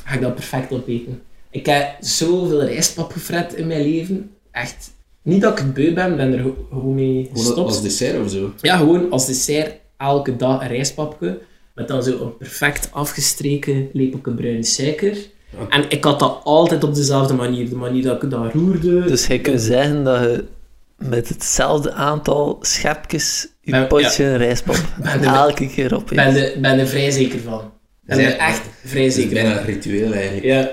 [SPEAKER 3] ga ik dat perfect opeten. Ik heb zoveel rijstpap gefret in mijn leven. Echt. Niet dat ik het beu ben, ben er go- gewoon mee
[SPEAKER 2] Gewoon
[SPEAKER 3] gestopt.
[SPEAKER 2] als dessert of zo.
[SPEAKER 3] Ja, gewoon als dessert elke dag een rijstpapje. Met dan zo een perfect afgestreken lepeltje bruine suiker.
[SPEAKER 2] Ja.
[SPEAKER 3] En ik had dat altijd op dezelfde manier. De manier dat ik dat roerde.
[SPEAKER 1] Dus je kunt zeggen dat je met hetzelfde aantal schepjes je
[SPEAKER 3] Ben-
[SPEAKER 1] potje rijstpop
[SPEAKER 3] Ben de-
[SPEAKER 1] elke keer op
[SPEAKER 3] Ik ben, er- ben er vrij zeker van. Ik ben
[SPEAKER 2] Zij-
[SPEAKER 3] er echt vrij
[SPEAKER 2] Dat is
[SPEAKER 3] zeker
[SPEAKER 2] bijna
[SPEAKER 3] van.
[SPEAKER 2] een ritueel eigenlijk.
[SPEAKER 3] Ja,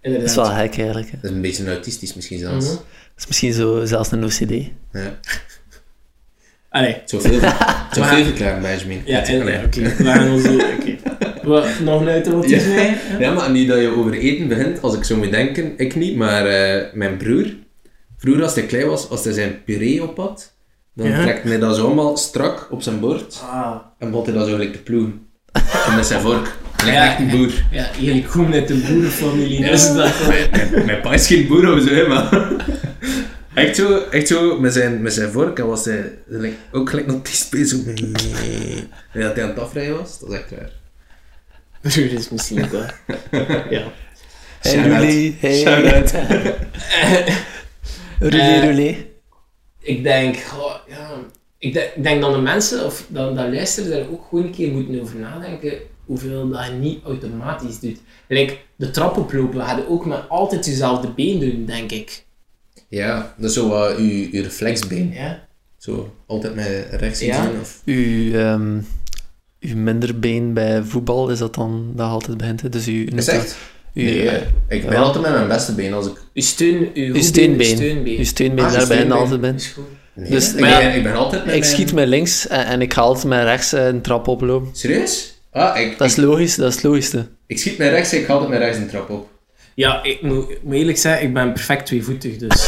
[SPEAKER 3] inderdaad.
[SPEAKER 1] Dat is wel gek eigenlijk. hè.
[SPEAKER 2] Dat is een beetje autistisch misschien zelfs.
[SPEAKER 3] Mhm.
[SPEAKER 1] Dat is misschien zo, zelfs een OCD.
[SPEAKER 2] Ja.
[SPEAKER 3] Allee.
[SPEAKER 2] Zoveel, zoveel
[SPEAKER 3] Maar-
[SPEAKER 2] verklaren, Benjamin.
[SPEAKER 3] Ja,
[SPEAKER 2] Allee.
[SPEAKER 3] en- oké. We gaan ons doen. Oké. Wat- Nog een
[SPEAKER 2] Ja.
[SPEAKER 3] automatisme? Ja.
[SPEAKER 2] Ja, maar nu dat je over eten begint, als ik zo moet denken, ik niet, maar eh, mijn broer, vroeger als hij klein was, als hij zijn puree op had, dan
[SPEAKER 3] Ja.
[SPEAKER 2] trekt hij dat zo allemaal strak op zijn bord
[SPEAKER 3] Ah.
[SPEAKER 2] en bot hij dat zo gelijk te ploegen. En met zijn vork. Gelijk
[SPEAKER 3] Ja.
[SPEAKER 2] echt een boer.
[SPEAKER 3] Ja, jullie komen uit de boerenfamilie, dus dat...
[SPEAKER 2] Mijn, mijn pa is geen boer of zo, hè, maar... Echt zo, echt zo met, zijn, met zijn vork en was hij gelijk- ook gelijk nog die bezig. En dat hij aan het afrijden was, dat is echt raar.
[SPEAKER 3] Broer is misschien ook wel... Ja.
[SPEAKER 1] Hey
[SPEAKER 2] Shout-out.
[SPEAKER 1] Roelie, hey.
[SPEAKER 2] Shout-out.
[SPEAKER 1] Roelie,
[SPEAKER 3] Eh.
[SPEAKER 1] Roelie.
[SPEAKER 3] Ik denk... goh, ja. Ik, denk- ik denk dat de mensen, of dat, dat luisteren, daar ook gewoon een keer moeten over nadenken. hoeveel dat je niet automatisch doet. Like, de trap oplopen ga je ook met altijd jezelfde been doen, denk ik.
[SPEAKER 2] Ja, dat is zo wat je, je reflexbeen.
[SPEAKER 3] Ja?
[SPEAKER 2] Zo, altijd met rechts
[SPEAKER 3] Ja.
[SPEAKER 2] doen. Of...
[SPEAKER 1] Uw, ehm uw minderbeen bij voetbal is dat dan dat je altijd begint. Hè? Dus uw,
[SPEAKER 2] Is echt? Nee,
[SPEAKER 1] uw,
[SPEAKER 2] eh, ik ben altijd met mijn beste been als ik...
[SPEAKER 3] Je steun, je,
[SPEAKER 1] uw
[SPEAKER 3] hoekbeen,
[SPEAKER 1] steenbeen.
[SPEAKER 3] Je steunbeen.
[SPEAKER 1] Uw steenbeen,
[SPEAKER 2] Ah,
[SPEAKER 1] daar
[SPEAKER 2] steenbeen.
[SPEAKER 1] ben je altijd bij.
[SPEAKER 3] Is goed.
[SPEAKER 2] Nee,
[SPEAKER 1] Dus-
[SPEAKER 2] ik,
[SPEAKER 1] maar
[SPEAKER 2] ben,
[SPEAKER 1] ja,
[SPEAKER 2] ik ben eh, altijd met
[SPEAKER 1] Ik
[SPEAKER 2] mijn-
[SPEAKER 1] schiet met links en, en ik ga altijd met rechts eh, een trap oplopen.
[SPEAKER 2] Serieus? Ah, ik,
[SPEAKER 1] Dat is logisch, dat is het logischste.
[SPEAKER 2] ik schiet met rechts en ik ga altijd met rechts een trap op.
[SPEAKER 3] Ja, ik moet, ik moet eerlijk zijn, ik ben perfect tweevoetig, dus...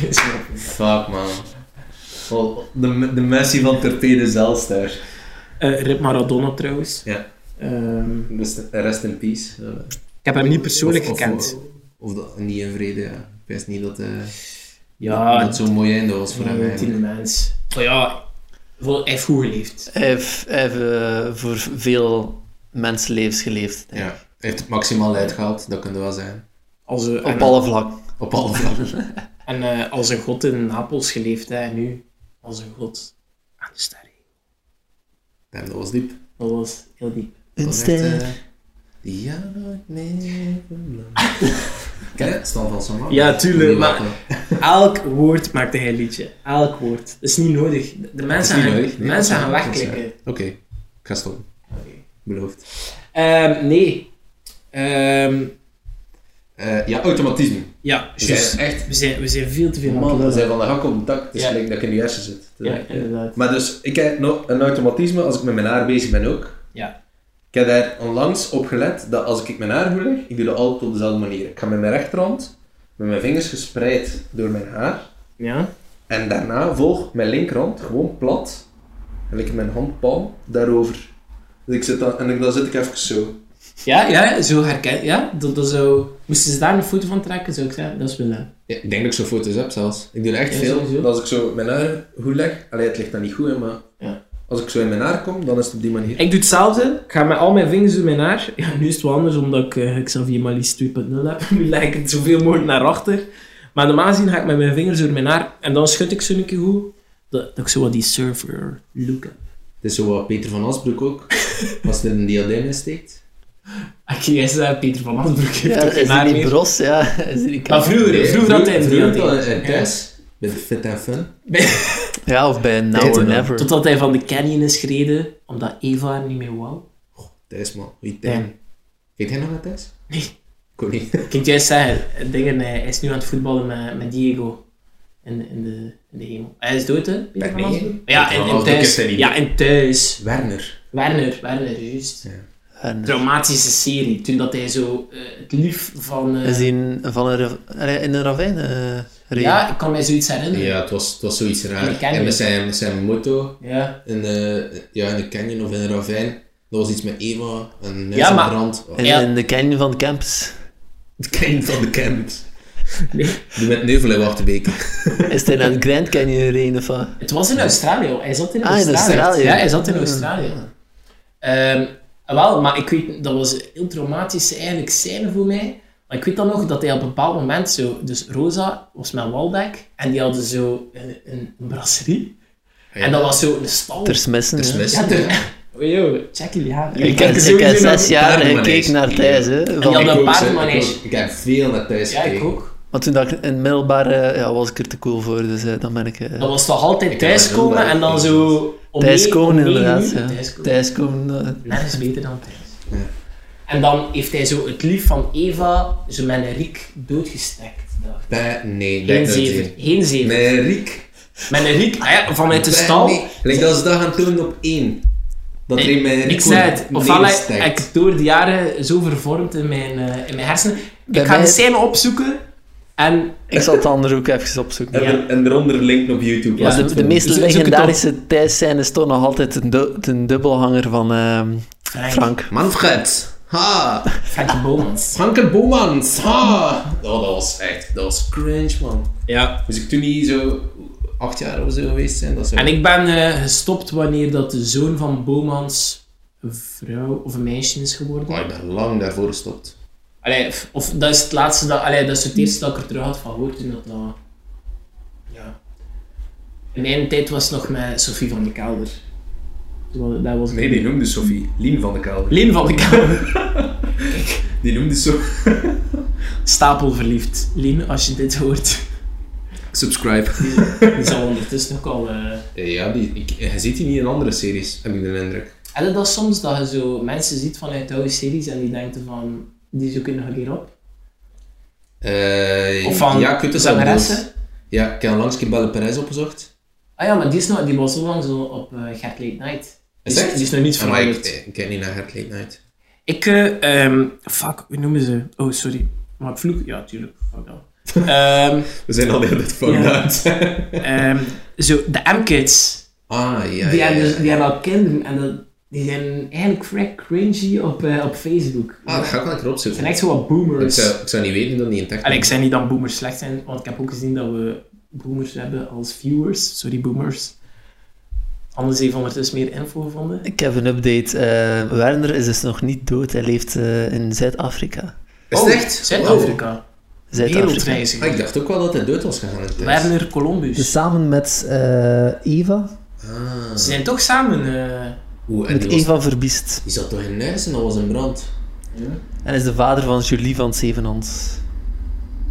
[SPEAKER 2] Fuck, man. Wel, De, de Messi van Tertede zelfs daar.
[SPEAKER 3] Eh Rip Maradona trouwens.
[SPEAKER 2] Ja.
[SPEAKER 3] Ehm,
[SPEAKER 2] Dus rest in peace. Eh,
[SPEAKER 3] ik heb hem niet persoonlijk
[SPEAKER 2] Of- of-
[SPEAKER 3] gekend.
[SPEAKER 2] Of dat, niet in vrede, ja. Ik wist niet dat, eh
[SPEAKER 3] ja,
[SPEAKER 2] dat zo'n mooi einde was voor hem.
[SPEAKER 3] een tiende
[SPEAKER 2] eigenlijk.
[SPEAKER 3] mens. Maar ja, wel, hij heeft goed geleefd.
[SPEAKER 1] Hij heeft, hij heeft, eh, voor veel mensenlevens geleefd.
[SPEAKER 2] Ja. Hij heeft het maximaal uitgehaald, dat kunnen we wel zijn.
[SPEAKER 3] Als een, en,
[SPEAKER 1] Op alle vlakken.
[SPEAKER 2] Op alle vlakken.
[SPEAKER 3] en eh, als een god in Napels geleefd, hè, en nu als een god aan de sterren.
[SPEAKER 2] Damn, dat was diep.
[SPEAKER 3] Dat was heel diep.
[SPEAKER 1] Een
[SPEAKER 2] Dat was echt,
[SPEAKER 1] ster.
[SPEAKER 2] eh, ja, nooit meer. Ken je het? Stan van Samar?
[SPEAKER 3] Ja, tuurlijk,
[SPEAKER 2] Niet
[SPEAKER 3] maar-
[SPEAKER 2] welkom.
[SPEAKER 3] Elk woord maakte hij een liedje. Elk woord. Dat is niet nodig. De- De mensen,
[SPEAKER 2] niet
[SPEAKER 3] gaan,
[SPEAKER 2] nodig.
[SPEAKER 3] de
[SPEAKER 2] Nee,
[SPEAKER 3] mensen
[SPEAKER 2] dat
[SPEAKER 3] gaan
[SPEAKER 2] is- dat is
[SPEAKER 3] wegklikken.
[SPEAKER 2] Oké, ik ga stoppen.
[SPEAKER 3] Oké.
[SPEAKER 2] Beloofd.
[SPEAKER 3] Ehm, nee. Ehm,
[SPEAKER 2] Eh, ja, automatisme.
[SPEAKER 3] ja,
[SPEAKER 2] Dus
[SPEAKER 3] juist.
[SPEAKER 2] echt...
[SPEAKER 3] We zijn, we zijn veel te veel aan het
[SPEAKER 2] Man, we
[SPEAKER 3] lullen.
[SPEAKER 2] zijn van de hak op de tak. Het is
[SPEAKER 3] Ja.
[SPEAKER 2] gelijk dat ik in de hersen zit.
[SPEAKER 3] Ja, inderdaad.
[SPEAKER 2] Maar dus, ik heb nog een automatisme als ik met mijn haar bezig ben ook.
[SPEAKER 3] Ja.
[SPEAKER 2] Ik heb daar onlangs op gelet dat als ik mijn haar goed leg, ik doe dat altijd op dezelfde manier. Ik ga met mijn rechterhand, met mijn vingers gespreid door mijn haar.
[SPEAKER 3] Ja?
[SPEAKER 2] En daarna volg mijn linkerhand gewoon plat. En ik mijn handpalm daarover. Dus ik zit dan, en ik, dan zit ik even zo.
[SPEAKER 3] Ja, ja, zo herken Ja, dat, dat zou... Moesten ze daar een foto van trekken, zou ik zeggen. Dat is willen.
[SPEAKER 2] ik denk dat ik zo foto's heb zelfs. Ik doe er echt
[SPEAKER 3] Ja,
[SPEAKER 2] veel.
[SPEAKER 3] sowieso.
[SPEAKER 2] Als ik zo mijn haar goed leg, allee, het ligt dan niet goed, hè, maar
[SPEAKER 3] Ja.
[SPEAKER 2] als ik zo in mijn haar kom, dan is het op die manier.
[SPEAKER 3] Ik doe hetzelfde. Ik ga met al mijn vingers door mijn haar. Ja, nu is het wel anders, omdat ik eh, Xavier Malice 2.0 heb. Nu leg ik het zoveel mogelijk naar achter. Maar normaal gezien ga ik met mijn vingers door mijn haar. En dan schud ik zo een keer goed. Dat, dat ik zo wat die surfer look heb.
[SPEAKER 2] Het is zo wat Peter van Asbroek ook. Als hij een diadem insteekt.
[SPEAKER 3] Ik ging eerst zeggen, eh, Peter van Asbroek heeft
[SPEAKER 1] Ja,
[SPEAKER 3] toch geen
[SPEAKER 1] is
[SPEAKER 3] haar
[SPEAKER 1] dat niet
[SPEAKER 3] meer.
[SPEAKER 1] bros? Ja, is die
[SPEAKER 3] Maar vroeger, vroeger had hij een
[SPEAKER 2] vroeger
[SPEAKER 3] diadem.
[SPEAKER 2] had hij een eh, thuis. Bij de Fit and Fun.
[SPEAKER 1] Ja, of bij Now
[SPEAKER 2] Beter
[SPEAKER 1] or
[SPEAKER 2] dan.
[SPEAKER 1] Never.
[SPEAKER 3] Totdat hij van de canyon is gereden, omdat Eva er niet meer wou.
[SPEAKER 2] Thijs, man. Wie Tijn? Heet hij nog naar Thijs?
[SPEAKER 3] Nee.
[SPEAKER 2] Ik ook niet.
[SPEAKER 3] Ik kan het juist zeggen, dingen, hij is nu aan het voetballen met, met Diego in, in, de, in de hemel. Hij is dood, hè? Peter
[SPEAKER 2] Ben
[SPEAKER 3] van
[SPEAKER 2] nee.
[SPEAKER 3] Asbroek? Ja,
[SPEAKER 2] Peter
[SPEAKER 3] en,
[SPEAKER 2] van
[SPEAKER 3] en
[SPEAKER 2] Asbroek
[SPEAKER 3] thuis.
[SPEAKER 2] heeft hij niet.
[SPEAKER 3] Ja, en thuis.
[SPEAKER 2] Werner.
[SPEAKER 3] Werner, Werner, juist.
[SPEAKER 1] En, eh,
[SPEAKER 3] Traumatische serie, toen dat hij zo eh, het lief van... eh,
[SPEAKER 1] is die een- van een, rav- allee, in een ravijn eh gereden?
[SPEAKER 3] ja, ik kan mij zoiets herinneren.
[SPEAKER 2] Ja, het was, het was zoiets
[SPEAKER 3] In de
[SPEAKER 2] raar.
[SPEAKER 3] canyon.
[SPEAKER 2] En met zijn, met zijn motto
[SPEAKER 3] Ja.
[SPEAKER 2] in, eh ja, in de canyon of in een ravijn. Dat was iets met Eva en
[SPEAKER 3] Ja,
[SPEAKER 2] ja,
[SPEAKER 3] maar-
[SPEAKER 2] brand. Oh,
[SPEAKER 1] In,
[SPEAKER 3] Ja.
[SPEAKER 1] in de canyon van de campus.
[SPEAKER 2] de canyon van de camps.
[SPEAKER 3] Nee.
[SPEAKER 2] Die met Neuvel in Wachtenbeke.
[SPEAKER 1] Is hij naar het Grand Canyon gereden of wat?
[SPEAKER 3] Het was in Australië, hoor. hij zat in
[SPEAKER 1] Ah, in
[SPEAKER 3] Australië.
[SPEAKER 1] Australië.
[SPEAKER 3] Ja, hij zat in
[SPEAKER 1] Ah.
[SPEAKER 3] Australië. Ehm, wel, maar ik weet, dat was een heel traumatische eigenlijk scène voor mij. Maar ik weet dan nog dat hij op een bepaald moment zo... Dus Rosa was met Waldeck en die hadden zo een, een, een brasserie.
[SPEAKER 2] Ja.
[SPEAKER 3] En dat was zo een stal.
[SPEAKER 1] Ter smissen,
[SPEAKER 2] Dus
[SPEAKER 1] ja.
[SPEAKER 2] mis.
[SPEAKER 3] Ja, ter... Oh, yo, check jullie aan. Jullie
[SPEAKER 1] Ik heb,
[SPEAKER 3] kijken
[SPEAKER 1] ik heb
[SPEAKER 3] sowieso
[SPEAKER 1] zes
[SPEAKER 3] naar-
[SPEAKER 1] jaar
[SPEAKER 2] paardenmanege.
[SPEAKER 1] gekeken naar Thijs. Hè,
[SPEAKER 3] die
[SPEAKER 1] van-
[SPEAKER 3] had-
[SPEAKER 2] Ik
[SPEAKER 3] een
[SPEAKER 2] ook, zeg,
[SPEAKER 3] paardenmanege.
[SPEAKER 2] ik ook. Ik heb veel naar Thijs
[SPEAKER 3] Ja, ik
[SPEAKER 2] gekeken.
[SPEAKER 3] ook.
[SPEAKER 1] Maar toen dat ik in het middelbaar eh, ja, was ik er te cool voor, dus eh, dan ben ik eh
[SPEAKER 3] Dat was toch altijd
[SPEAKER 2] Ik heb dat
[SPEAKER 3] thuiskomen
[SPEAKER 2] ook
[SPEAKER 3] en dan
[SPEAKER 2] gezien.
[SPEAKER 3] zo... om
[SPEAKER 1] Thijs
[SPEAKER 3] negen-
[SPEAKER 1] Koon
[SPEAKER 3] om negen
[SPEAKER 1] inderdaad.
[SPEAKER 3] uur
[SPEAKER 1] Ja.
[SPEAKER 3] thuiskomen.
[SPEAKER 1] Thijs Koon, eh,
[SPEAKER 3] Nergens beter dan Thijs.
[SPEAKER 2] Ja.
[SPEAKER 3] En dan heeft hij zo het lief van Eva, zo met een riek, doodgestekt. dacht ik.
[SPEAKER 2] Bij- nee,
[SPEAKER 3] Geen
[SPEAKER 2] denk dat
[SPEAKER 3] zeven.
[SPEAKER 2] niet.
[SPEAKER 3] Geen zeven.
[SPEAKER 2] Met Riek.
[SPEAKER 3] Met een riek ah ja, vanuit de
[SPEAKER 2] Bij-
[SPEAKER 3] stal.
[SPEAKER 2] Nee, like, dat ze dat gaan doen op één. Dat
[SPEAKER 3] Ik-
[SPEAKER 2] er mijn
[SPEAKER 3] ik zei het. Ofwel heb ik door de jaren zo vervormd in mijn, eh, in mijn hersenen.
[SPEAKER 1] Bij
[SPEAKER 3] ik ga
[SPEAKER 1] mij-
[SPEAKER 3] de scène opzoeken. En
[SPEAKER 1] ik zal het andere ook even opzoeken.
[SPEAKER 2] En, er- en eronder linken op YouTube.
[SPEAKER 3] Ja,
[SPEAKER 2] als je
[SPEAKER 1] de,
[SPEAKER 2] het
[SPEAKER 1] de
[SPEAKER 2] vindt.
[SPEAKER 1] meest
[SPEAKER 3] Zo- zoek het
[SPEAKER 1] legendarische Thijs-scène is toch nog altijd een, du- een dubbelhanger van ehm,
[SPEAKER 3] Frank, Frank.
[SPEAKER 1] Frank.
[SPEAKER 2] Manfred. Ha!
[SPEAKER 3] Frankie Bomans.
[SPEAKER 2] Franke Bomans. Ha! Oh, dat was echt... Dat was cringe, man.
[SPEAKER 3] Ja.
[SPEAKER 2] Dus ik toen niet zo... Acht jaar of zo geweest zijn. Dat zou...
[SPEAKER 3] En ik ben eh, gestopt wanneer dat de zoon van Bomans een vrouw of een meisje is geworden.
[SPEAKER 2] Oh, ik ben lang daarvoor gestopt.
[SPEAKER 3] Allee, f- of dat is het laatste dat, allee, dat is het eerste dat ik er terug had van gehoord toen dat dat... Ja. In mijn tijd was het nog met Sophie van de Kelder. Zo, Dat was
[SPEAKER 4] Nee, die noemde Sophie. Lien van de Kelder.
[SPEAKER 3] Leen van de Kelder.
[SPEAKER 4] Die noemde zo.
[SPEAKER 3] Stapelverliefd. Leen, als je dit hoort.
[SPEAKER 4] Subscribe.
[SPEAKER 3] Die zal ondertussen ook al... eh,
[SPEAKER 2] Eh, Ja, die, ik, je ziet die niet in andere series, heb ik de indruk.
[SPEAKER 3] En dat is soms dat je zo mensen ziet vanuit oude series en die denken van, die zoeken nog een keer op.
[SPEAKER 2] Eh,
[SPEAKER 3] Of van
[SPEAKER 2] ja, ik weet het wel,
[SPEAKER 3] zangeressen.
[SPEAKER 2] dus- Ja, ik heb langs Kibelle Perez opgezocht.
[SPEAKER 3] Ah ja, maar die, is nog, die was zo lang zo op eh Gert Late Night. Die is,
[SPEAKER 2] echt?
[SPEAKER 3] die is nog niet
[SPEAKER 2] Ah, maar ik,
[SPEAKER 3] veranderd.
[SPEAKER 2] eh, ik kijk niet naar Hard Late Night.
[SPEAKER 3] Ik, eh, ehm, fuck, hoe noemen ze? Oh, sorry. Maar vloek? Ja, tuurlijk. Fuck dat. Ehm,
[SPEAKER 2] We zijn al de hele tijd van
[SPEAKER 3] Ja.
[SPEAKER 2] uit.
[SPEAKER 3] ehm, zo, de M-kids.
[SPEAKER 2] Ah, ja,
[SPEAKER 3] die,
[SPEAKER 2] ja,
[SPEAKER 3] hebben
[SPEAKER 2] ja.
[SPEAKER 3] dus- die hebben al kinderen en dat, die zijn eigenlijk vrij cringy op, eh, op Facebook.
[SPEAKER 2] Ah, dat ga ik wel een keer
[SPEAKER 3] Het
[SPEAKER 2] opzoeken.
[SPEAKER 3] zijn echt zo wat
[SPEAKER 2] Ik
[SPEAKER 3] boomers.
[SPEAKER 2] zou, ik zou niet weten dat die intact
[SPEAKER 3] Allee, ik zei niet dat boomers slecht zijn, want ik heb ook gezien dat we boomers hebben als viewers. Sorry, boomers. Anders heeft ondertussen meer info gevonden.
[SPEAKER 1] Ik heb een update. Eh, Werner is dus nog niet dood. Hij leeft eh, in Zuid-Afrika.
[SPEAKER 3] oh,
[SPEAKER 2] Is het echt?
[SPEAKER 3] Zuid-Afrika.
[SPEAKER 1] Zuid-Afrika.
[SPEAKER 2] Wow. Ah,
[SPEAKER 3] Wereldreiziger.
[SPEAKER 2] ik dacht ook wel dat hij dood was gegaan. in het huis.
[SPEAKER 3] Werner Columbus.
[SPEAKER 1] Dus samen met eh, Eva.
[SPEAKER 2] Ah.
[SPEAKER 3] Ze zijn toch samen... eh,
[SPEAKER 2] Oeh, en
[SPEAKER 1] Met
[SPEAKER 2] die, was,
[SPEAKER 1] Eva Verbiest.
[SPEAKER 2] die zat toch in huis en dat was in brand.
[SPEAKER 1] En is de vader van Julie van Zevenhans.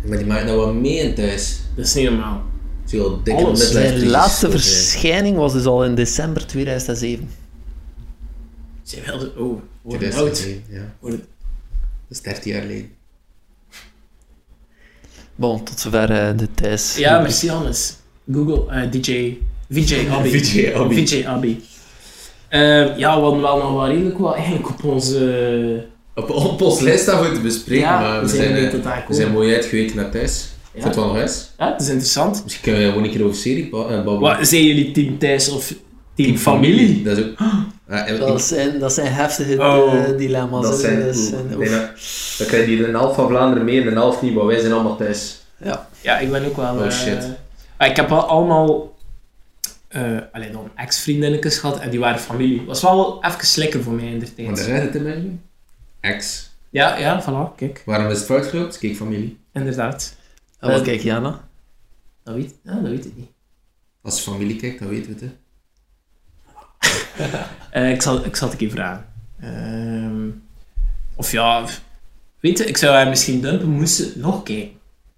[SPEAKER 2] Maar die maakt nou wel mee in thuis.
[SPEAKER 3] Dat is niet normaal.
[SPEAKER 2] Veel dikke
[SPEAKER 3] Alles.
[SPEAKER 2] midlife
[SPEAKER 1] Zijn
[SPEAKER 2] crisis.
[SPEAKER 1] laatste
[SPEAKER 2] Oké.
[SPEAKER 1] verschijning was dus al in december 2007.
[SPEAKER 3] Ze zijn wel... de- Oh, worden oud.
[SPEAKER 2] 2010, ja.
[SPEAKER 3] Worden-
[SPEAKER 2] Dat is 13 jaar geleden.
[SPEAKER 1] Bon, tot zover eh, de thuis.
[SPEAKER 3] Ja, merci Hannes. Google, eh, DJ... VJ Abby.
[SPEAKER 2] VJ Abby.
[SPEAKER 3] VJ Abby. Eh, ja, we hadden wel nog wel redelijk wat eigenlijk op onze...
[SPEAKER 2] Op, op ons lijst staan we te bespreken,
[SPEAKER 3] Ja,
[SPEAKER 2] maar we
[SPEAKER 3] we zijn
[SPEAKER 2] zijn,
[SPEAKER 3] er
[SPEAKER 2] eh,
[SPEAKER 3] niet tot aan
[SPEAKER 2] we
[SPEAKER 3] gekomen.
[SPEAKER 2] zijn mooi uitgeweken naar thuis.
[SPEAKER 3] Ja.
[SPEAKER 2] Vond het wel nog eens?
[SPEAKER 3] Ja, het is interessant.
[SPEAKER 2] Misschien kunnen we gewoon een keer over serie ba- eh, babbelen.
[SPEAKER 3] Wat, zijn jullie team thuis of team familie?
[SPEAKER 2] Dat is ook... Ah, en-
[SPEAKER 1] Dat zijn, dat zijn heftige
[SPEAKER 3] Oh,
[SPEAKER 1] eh, dilemma's. hè.
[SPEAKER 2] dat zijn...
[SPEAKER 1] Dat
[SPEAKER 2] oeh,
[SPEAKER 1] zijn-
[SPEAKER 2] ik
[SPEAKER 1] oef.
[SPEAKER 2] denk dat- Dan krijg je een half van Vlaanderen mee en een half niet, maar wij zijn allemaal thuis.
[SPEAKER 3] Ja, ik ben ook wel...
[SPEAKER 2] Oh,
[SPEAKER 3] eh,
[SPEAKER 2] shit.
[SPEAKER 3] ah, ik heb wel allemaal... eh allee, dan ex-vriendinnetjes gehad en die waren familie. Was wel even slikken voor mij in de
[SPEAKER 2] Want daar
[SPEAKER 3] tijd.
[SPEAKER 2] zijn het in België. Ex.
[SPEAKER 3] Ja, ja, voilà, kijk.
[SPEAKER 2] Waarom is het fout groot? Kijk, familie.
[SPEAKER 3] Inderdaad.
[SPEAKER 1] Oh, maar kijk, Jana.
[SPEAKER 3] Dat weet, ja, dat weet ik niet.
[SPEAKER 2] Als je familie kijkt, dan weten we het. Hè.
[SPEAKER 3] Eh, ik, zal, ik zal het een keer vragen. Ehm, of ja, weet je, ik zou haar misschien dumpen, moesten nog kijken.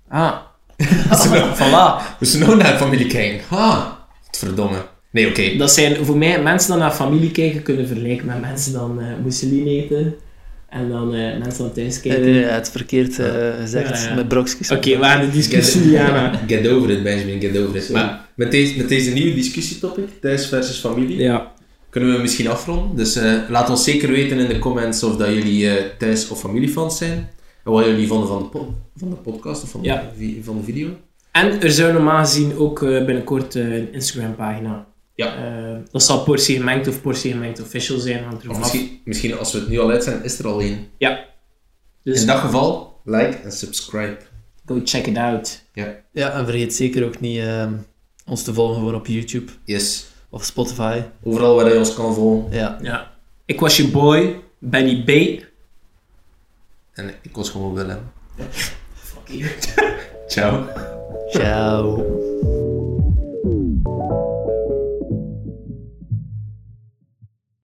[SPEAKER 3] Ah, voilà.
[SPEAKER 2] We zijn nou naar familie kijken. Ha! Verdomme. Nee, oké.
[SPEAKER 3] Dat zijn voor mij mensen die naar familie kijken kunnen vergelijken met mensen die eh mousseline eten en dan eh, mensen die thuis
[SPEAKER 1] Eh,
[SPEAKER 3] kijken.
[SPEAKER 1] nee, het verkeerd eh, gezegd,
[SPEAKER 3] Ja, ja.
[SPEAKER 1] met brokjes.
[SPEAKER 3] Oké, we gaan de discussie niet aan.
[SPEAKER 2] Get over it, Benjamin, get over it. Maar met deze, met deze nieuwe discussietopic, thuis versus familie,
[SPEAKER 3] Ja,
[SPEAKER 2] kunnen we misschien afronden. Dus eh, laat ons zeker weten in de comments of dat jullie eh, thuis- of familiefans zijn. En wat jullie vonden van de, po- van de podcast of van,
[SPEAKER 3] Ja.
[SPEAKER 2] de, vi- van de video.
[SPEAKER 3] en er zou normaal gezien ook eh, binnenkort eh, een Instagram-pagina.
[SPEAKER 2] Ja.
[SPEAKER 3] Eh, dat zal Portie Gemengd of Portie Gemengd Official zijn, hangt
[SPEAKER 2] Of
[SPEAKER 3] ervan af.
[SPEAKER 2] misschien, misschien als we het nu al uit zijn, is er al één.
[SPEAKER 3] Dus
[SPEAKER 2] In dat geval, like en subscribe.
[SPEAKER 3] go check it out.
[SPEAKER 1] Ja, en vergeet zeker ook niet ehm, ons te volgen gewoon op YouTube
[SPEAKER 2] Yes.
[SPEAKER 1] of Spotify.
[SPEAKER 2] Overal waar je ons kan volgen.
[SPEAKER 1] Ja,
[SPEAKER 3] Ja. Ik was je boy, Benny B.
[SPEAKER 2] En ik was gewoon Willem.
[SPEAKER 3] Fuck you.
[SPEAKER 2] Ciao.
[SPEAKER 1] ciao.